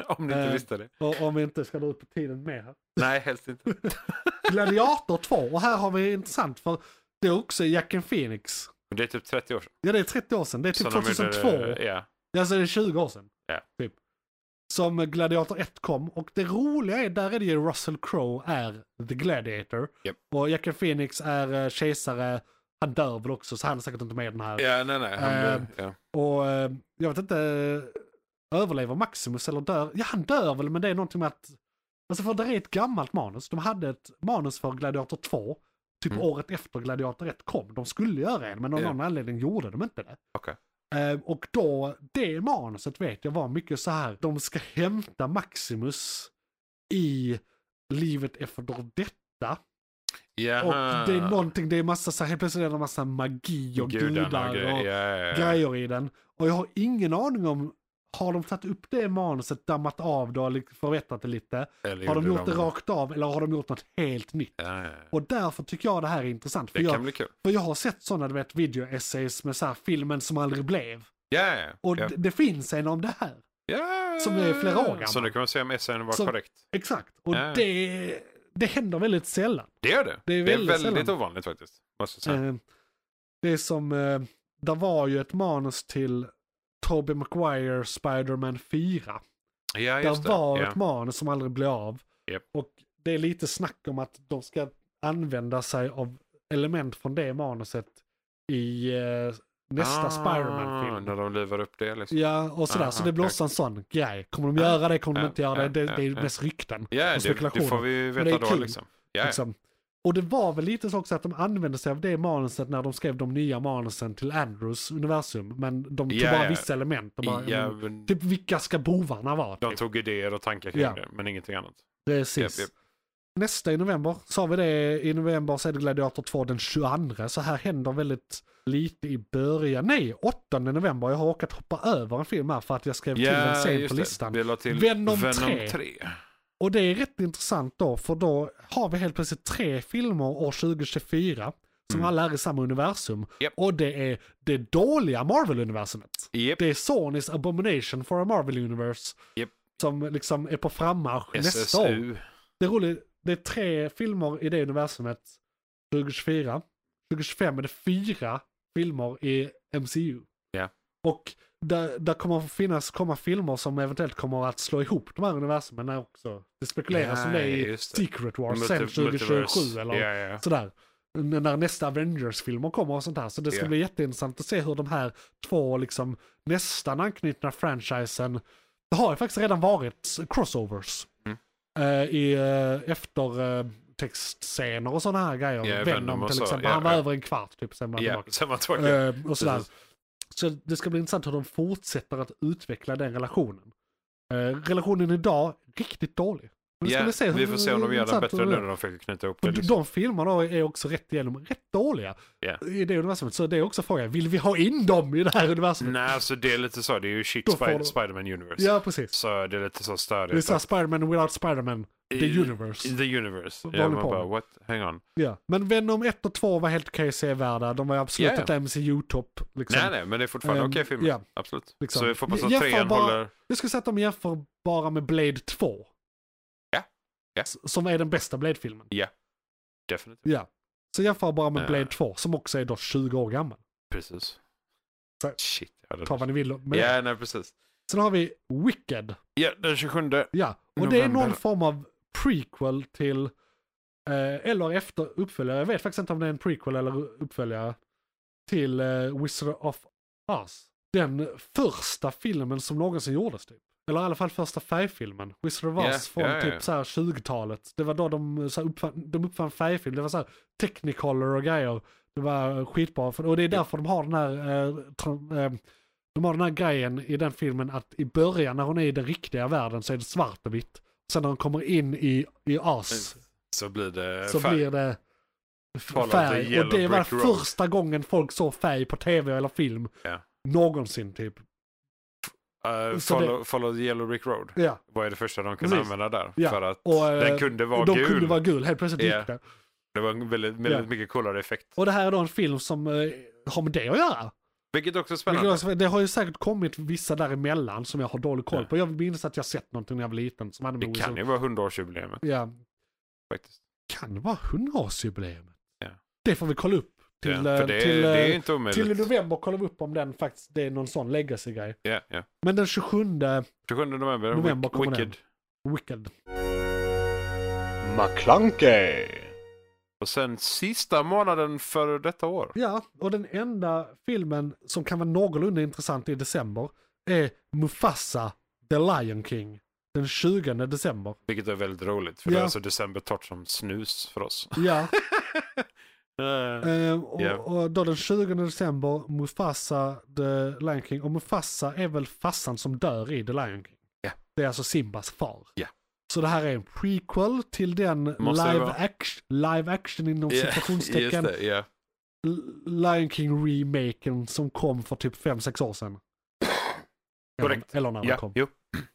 Om ni inte Eh. visste det. Och om vi inte ska dra ut på tiden mer. här. Nej, helst inte. Gladiator 2, och här har vi intressant för det är också Jack and Phoenix. Men Det är typ 30 år sedan. Ja, det är 30 år sedan. Det är typ som de gjorde 2002. det. Ja. Alltså det är 20 år sedan. Ja. Typ. Som Gladiator 1 kom. Och det roliga är, där är det ju Russell Crowe är The Gladiator. Japp. Och Jack and Phoenix är eh, kejsare. Han dör väl också, så han är säkert inte med i den här. ja, nej, nej. Han, Eh. blev- ja. Och eh, jag vet inte, eh, överlever Maximus eller dör? Ja, han dör väl, men det är någonting med att... Alltså för det är ett gammalt manus. De hade ett manus för Gladiator 2. Typ Mm. året efter Gladiator 1 kom. De skulle göra en, men av Ja. någon anledning gjorde de inte det. Okej. Eh, Och då, det manuset vet jag var mycket så här, de ska hämta Maximus i livet efter detta. Och Jaha. det är någonting, det är massa så här, helt plötsligt är det en massa magi och Gudarna gudar och grejer. Ja, ja, ja. grejer i den. Och jag har ingen aning om, Har de tagit upp det manuset, dammat av det och li- förbättrat det lite? Eller Har de gjorde gjort det rakt av eller har de gjort något helt nytt? Ja, ja, ja. Och därför tycker jag det här är intressant. För, Det kan jag, bli kul. för jag har sett sådana, du vet, video-essays med så här filmen som aldrig blev. Ja, ja, Och ja. d- det finns en om det här. Ja. som är flera år gammal. Så nu kan man se om SN var Som- korrekt. Exakt. Och Ja. det, det händer väldigt sällan. Det gör det. Det är väldigt sällan. ovanligt faktiskt. Måste jag säga. Eh, Det är som, eh, där var ju ett manus till Tobey Maguire Spider-Man 4. ja, just där det. var ja. ett manus som aldrig blev av. Japp. Och det är lite snack om att de ska använda sig av element från det manuset i eh, nästa Ah, Spider-Man-film. När de livar upp det liksom. Ja, och sådär. Aha, så det blir okej, också en sån grej. Kommer de göra det? Kommer de ja, inte göra ja, det? Det, ja, det är ju ja. mest rykten. Ja, det, det spekulationer. får vi ju Men veta det är då kul. liksom. Ja, ja. Liksom. Och det var väl lite så också att de använde sig av det manuset när de skrev de nya manusen till Andrews universum. Men de tog Ja, bara ja. vissa element. De bara, ja, men, men typ vilka ska bovarna vara? de Typ. tog idéer och tankar kring Ja. det, men ingenting annat. Precis. Japp, japp. Nästa i november, sa vi det, i november så är det Gladiator 2 den 22. Så här händer väldigt lite i början. Nej, 8 november. Jag har råkat hoppa över en film här för att jag skrev till den Ja, sen på just det. listan. Vi la till Venom Venom 3. 3. Och det är rätt intressant då, för då har vi helt plötsligt tre filmer år 2024 som Mm. alla är i samma universum. Japp. Och det är det dåliga Marvel-universumet. Japp. Det är Sonys Abomination for a Marvel Universe. Japp. Som liksom är på frammarsch nästa år. SSU. Det är roligt, det är tre filmer i det universumet 2024. 2025 är det fyra filmer i MCU. Ja. Och där, där kommer att finnas komma filmer som eventuellt kommer att slå ihop de här universumen här också. Det spekuleras om det Ja, i just det. Secret Wars sen Multi- 2027 multiverse. eller Ja, ja. sådär. N- När nästa Avengers-filmer kommer och sånt här. Så det ska Ja. bli jätteintressant att se hur de här två liksom nästan anknutna franchisen. Det har ju faktiskt redan varit crossovers. Mm. Eh, I eh, efter eh, textscener och sådana här grejer. Ja, Venom, Venom och till så, exempel. ja, Han var ja. över en kvart typ sen var han Ja, tillbaka. sen var tillbaka. Eh, och sådär. Precis. Så det ska bli intressant hur de fortsätter att utveckla den relationen. Eh, relationen idag, riktigt dålig. Men det ska Ja, bli se hur- vi får se om de gör den intressant bättre hur- nu när de försöker knyta ihop det. och Liksom. de filmerna är också rätt igenom rätt dåliga Ja. i det universumet. Så det är också frågan, vill vi ha in dem i det här universumet? Nej, alltså det är lite så. Det är ju shit Då får Spider- de- Spider-Man Universe. Ja, precis. Så det är lite så Det är störigt. såhär Spiderman without Spiderman, the I- universe. The Universe. Vad Ja, håller man på bara, med? what? Hang on. Ja. Men Venom 1 och 2 var helt okej sevärda. De var absolut Ja, ja. ett MCU-topp. Liksom. Nej, nej, men det är fortfarande Ehm, okej filmer. ja. Absolut. Liksom. Så vi får hoppas att Jag- jag får trean bara- håller... Jag skulle säga att de jämför bara med Blade 2. Ja. Ja. S- Som är den bästa Blade-filmen. Definitivt. Ja. Så jämför bara med Eh. Blade 2, som också är då 20 år gammal. Precis. Så- Shit. Ja, Ta vad det... ni vill med det. ja, nej, precis. Sen har vi Wicked. Ja, den 27. Ja, och det är någon November. form av prequel till, eh, eller efter uppföljare, jag vet faktiskt inte om det är en prequel eller uppföljare, till eh, Wizard of Oz. Den första filmen som någonsin gjordes typ. Eller i alla fall första färgfilmen. Wizard of Oz Ja, från ja, ja. typ så här 20-talet. Det var då de, så här, uppfann, de uppfann färgfilm. Det var så här technicolor och grejer. Det var eh, skitbra. För- Och det är därför de har den här eh, tra- eh, de har den här grejen i den filmen att i början när hon är i den riktiga världen så är det svart och vitt. Sen när hon kommer in i, i As Så blir det så Mm. Eh, färg. blir det f- Call of the färg. Och Yellow det var Brick Road. första gången folk såg färg på tv eller film. Ja. Någonsin typ. Eh, så follow, follow the Yellow Brick Road. Ja. Vad är det första de kunde Precis. använda där? Ja, För att och, eh, den kunde vara De gul. kunde vara gul, helt plötsligt Ja. gick det. Det var en väldigt, väldigt Ja. mycket coolare effekt. Och det här är då en film som eh, har med det att göra. Vilket också är Vilket spännande. också- Det har ju säkert kommit vissa däremellan som jag har dålig koll Ja. på. Jag minns att jag sett någonting när jag var liten som hade med Det kan Wizard- ju vara 100-årsjubileumet Ja, faktiskt. kan vara hundraårsjubileumet. Ja. Det får vi kolla upp. Till, ja, eh, för det, till, det är ju eh, inte omöjligt. till i november kollar vi upp om den faktiskt, det är någon sån legacy-grej. Ja, ja. Men den 27, 27 november, November Wick, kommer Wicked. den. Wicked. McClunkey. Och sen sista månaden för detta år. Ja, och den enda filmen som kan vara någorlunda intressant i december är Mufasa, The Lion King. Den 20 december. Vilket är väldigt roligt, för Ja. det är alltså december torrt som snus för oss. Ja, Eh, eh, och, Ja. och då den 20 december, Mufasa, The Lion King. Och Mufasa är väl fassan som dör i The Lion King. Ja. Det är alltså Simbas far. Ja. Så det här är en prequel till den Måste det live vara. action, live action inom ja, citationstecken Just det, ja. L- Lion King remaken som kom för typ 5-6 år sedan. Korrekt. Eller när den Ja, kom. jo.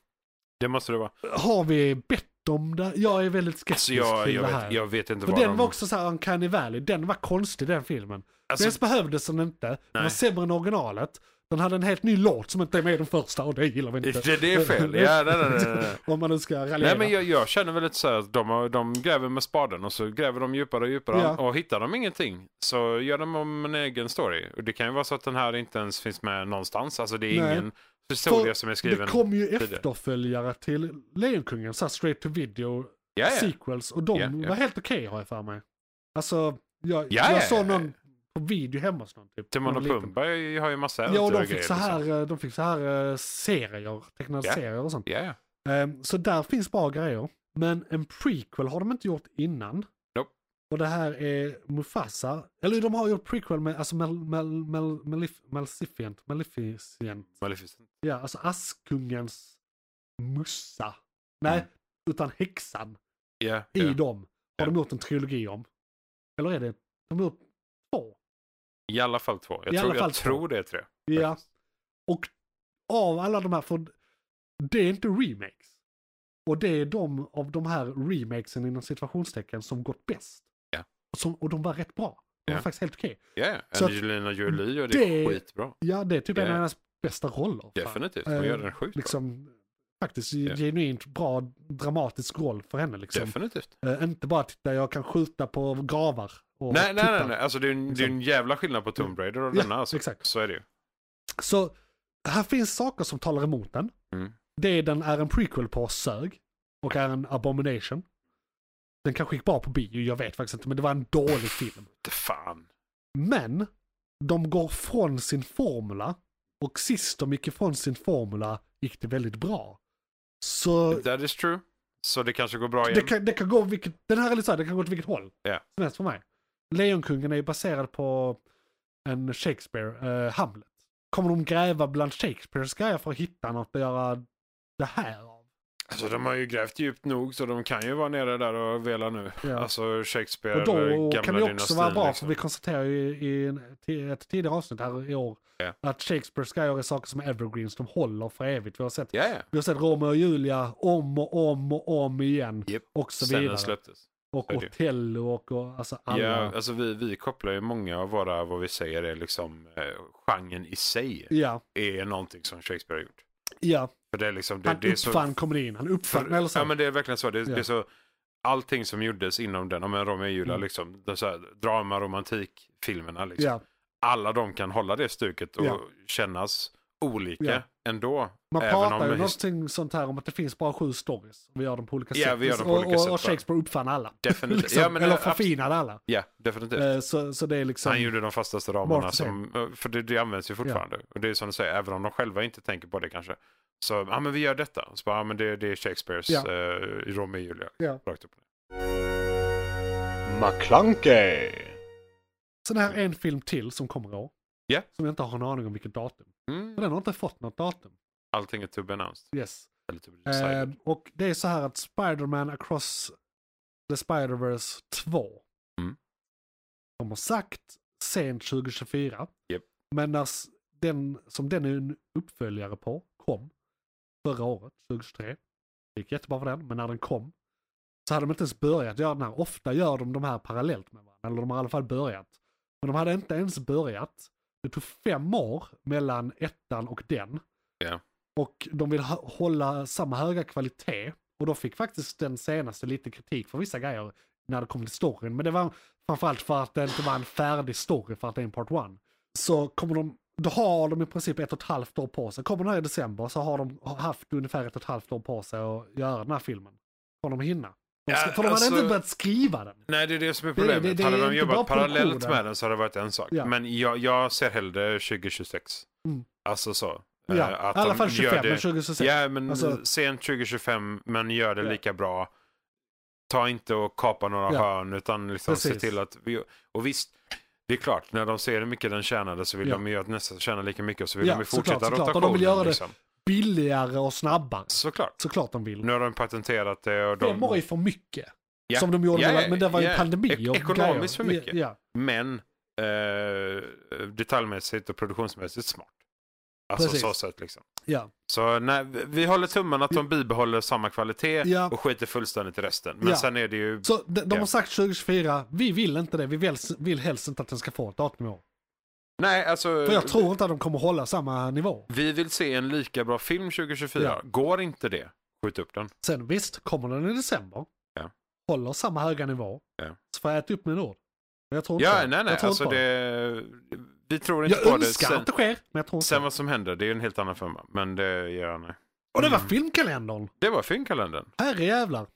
Det måste det vara. Har vi bett om det? Jag är väldigt skeptisk Alltså jag, till jag, det här. vet, jag vet inte För vad den de... var också så här Uncanny Valley. Den var konstig den filmen. alltså, Dels behövdes den inte. Den var Nej. sämre än originalet. Den hade en helt ny låt som inte är med i den första och det gillar vi inte. det, det är fel. Ja, nej, nej, nej, nej. Om man nu ska raljera. Nej men jag, jag känner väl lite så här att de, har- de gräver med spaden och så gräver de djupare och djupare Ja. och hittar de ingenting så gör de om en egen story. Och det kan ju vara så att den här inte ens finns med någonstans. Alltså det är Nej. ingen historia För som är skriven. det kom ju tidigare. efterföljare till Lejonkungen, så här straight to video Ja, ja. sequels. Och de Ja, ja. var helt okej har jag för mig. Alltså, jag, Ja, jag ja, såg ja. någon på video hemma hos någon. Typ, Timon Någon och liten. Pumba har ju massa Ja, och äventyr de fick, grejer, så liksom. här, eh, de fick så här eh, serier, tecknade Ja. serier och sånt. Ja, ja. Ehm, Så där finns bra grejer. Men en prequel har de inte gjort innan. Nope. Och det här är Mufasa. Eller de har gjort prequel med alltså Mal, Mal, Mal, Malif, Maleficent. Maleficent. Maleficent. Ja, alltså Askungens mussa. Nej, Mm. utan häxan Ja, i ja. dem. Har Ja. de gjort en trilogi om. Eller är det? De har gjort två. I alla fall två. Jag, I tror, alla fall jag två. tror det är tre. Ja. faktiskt. Och av alla de här, för det är inte remakes. Och det är de av de här remakesen inom situationstecken som gått bäst. Ja. Och, som, och de var rätt bra. De var Ja. faktiskt helt okej. Ja, ja. Så att Angelina Jolie och det är det- skitbra. Ja, det är typ en Ja. av hennes bästa roller. Fan. Definitivt. Hon Eh, gör den sjukt bra. Liksom, faktiskt Ja. genuint bra dramatisk roll för henne. Liksom. Definitivt. Eh, inte bara titta, jag kan skjuta på gravar. Och Nej, nej, titta. nej, nej. Alltså det är, en, det är en jävla skillnad på Tomb Raider och Ja, denna. Alltså. exakt. Så är det ju. Så här finns saker som talar emot den. Mm. Det den är en prequel på sög och är en abomination. Den kanske gick bra på bio, jag vet faktiskt inte, men det var en dålig film. Det fan. Men de går från sin formula och sist de gick ifrån sin formula gick det väldigt bra. Så That is true. Så det kanske går bra igen. det kan, det kan gå vilket, den här är lite så här, det kan gå åt vilket håll Ja. som helst för mig. Lejonkungen är ju baserad på en Shakespeare, eh, Hamlet. Kommer de gräva bland Shakespeares grejer för att hitta något att göra det här av? Alltså de har ju grävt djupt nog så de kan ju vara nere där och vela nu. Ja. Alltså Shakespeare Och då gamla kan det också dynastin, vara bra, liksom. för vi konstaterar ju i en, ti- ett tidigare avsnitt här i år, Ja. att Shakespeares grejer är saker som är evergreens, de håller för evigt. Vi har sett, Ja, ja. vi har sett Romeo och Julia om och om och om igen. Japp. Och så Sen den vidare. släpptes. Och så är det. Otello och, och alltså alla. Ja, alltså vi, vi kopplar ju många av våra, vad vi säger är liksom eh, genren i sig ja, är någonting som Shakespeare har gjort. ja. För det är liksom, det, Han det är så... uppfann komedin, han uppfann, eller så. ja men det är verkligen så. Det, Ja. det är så allting som gjordes inom den, om en Romeo och Julia, Mm. liksom, det är så här, drama, romantik, filmerna liksom. ja. Alla de kan hålla det stuket och Ja. kännas olika Ja. ändå. Man även om pratar ju his- någonting sånt här om att det finns bara sju stories. Vi gör dem på olika Ja, sätt. vi gör dem på och, olika och, sätt, och va? Shakespeare uppfann alla. Definitivt. Liksom, Ja, men, eller eh, abs- förfinade alla. Ja, definitivt. Eh, Så, så det är liksom... Han gjorde de fastaste ramarna, Varför som, eh, för det, det används ju fortfarande. Och det är som du säger, även om de själva inte tänker på det kanske. Så, ja men vi gör detta. Så bara, ja men det, det är Shakespeares Ja. eh, i Romeo och Julia. Ja. Rakt upp. McClunkey. Sen här är en film till som kommer i år. Ja. Som jag inte har en aning om vilket datum. Mm. Men den har inte fått något datum. Allting är to be announced. Yes. Eller to be decided. Eh, och det är så här att Spider-Man across the Spider-Verse 2. Mm. De har sagt sent 2024. Japp. Men när s- den som den är en uppföljare på kom förra året, 2023. Det gick jättebra för den, men när den kom så hade de inte ens börjat göra den här. Ofta gör de de här parallellt med varandra, eller de har i alla fall börjat. Men de hade inte ens börjat. Det tog fem år mellan ettan och den. Och de vill ha- hålla samma höga kvalitet. Och då fick faktiskt den senaste lite kritik för vissa grejer när det kom till storyn. Men det var framförallt för att det inte var en färdig story för att det är en part one. Så kommer de, då har de i princip ett och ett halvt år på sig. Kommer den här i december så har de haft ungefär ett och ett halvt år på sig att göra den här filmen. Kommer de hinna? De ska, Ja, för de hade alltså- inte börjat skriva den. Nej, det är det som är det- problemet. det är hade de inte bara jobbat parallellt produktionen. med den så hade det varit en sak. Ja. Men jag, jag ser hellre 2026. Mm. Alltså så. Ja, Eh, i att alla de fall gör 25, men det- 2026. Ja, men Alltså- sent 2025, men gör det Ja. lika bra. Ta inte och kapa några Ja. hörn, utan liksom se Precis. till att vi... Och visst, det är klart, när de ser hur mycket den tjänade så vill Ja. de ju att nästa tjänar lika mycket och så vill Ja, de ju såklart, fortsätta såklart. Och de rotationen. vill göra det. liksom. Billigare och snabbare. Såklart. Såklart de vill. Nu har de patenterat det och Fem år är de... för mycket. Ja. Som de gjorde, Ja, mellan- men det var ju ja. pandemi Ek- och grejer. ekonomiskt för mycket. Ja, Men eh, detaljmässigt och produktionsmässigt smart. Alltså Precis. så sätt liksom. Ja, Så nej, vi- vi håller tummen att de bibehåller samma kvalitet Ja. och skiter fullständigt i resten. Men Ja. sen är det ju... så de, de Ja. har sagt 2024, vi vill inte det, vi vill, vill helst inte att den ska få ett 18 år. Nej, alltså... För jag tror inte att de kommer hålla samma nivå. Vi vill se en lika bra film 2024. Ja. Går inte det, skjut upp den. Sen visst, kommer den i december, Ja. håller samma höga nivå, Ja. så får jag äta upp min ord. Men jag tror inte Ja, det. nej, nej. Jag tror Alltså inte på det. det... Vi tror inte Jag på det. önskar Sen, att det sker, men jag tror inte sen det. vad som händer, det är en helt annan femma. Men det, ja, nej. Och det Mm. var filmkalendern! Det var filmkalendern. Herrejävlar!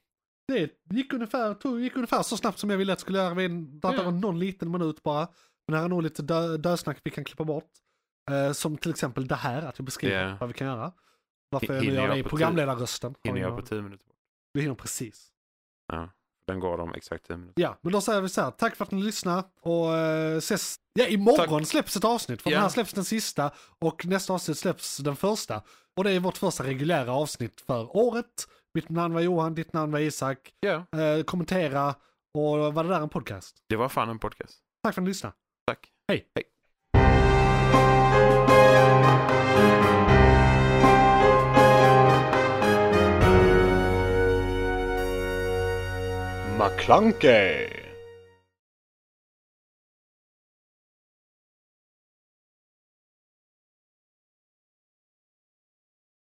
Det gick ungefär, tog, gick ungefär så snabbt som jag ville att det skulle göra. Vi pratade Ja. om någon liten minut bara. Men här är nog lite dö, dösnack vi kan klippa bort. Eh, som till exempel det här, att vi beskriver Ja. vad vi kan göra. Varför jag nu Hinner gör jag det i på programledarrösten. Hinner jag på tio minuter? Vi hinner precis. Den går om exakt tio minuter. Ja, men då säger vi så här. Tack för att ni lyssnade och eh, ses. Ja, imorgon släpps ett avsnitt. För Ja. den här släpps den sista och nästa avsnitt släpps den första. Och det är vårt första reguljära avsnitt för året. Mitt namn var Johan, ditt namn var Isak. Ja, eh, kommentera och var det där en podcast? det var fan en podcast. Tack för att ni lyssnade. Tack. Hej. Hej. McClunkey!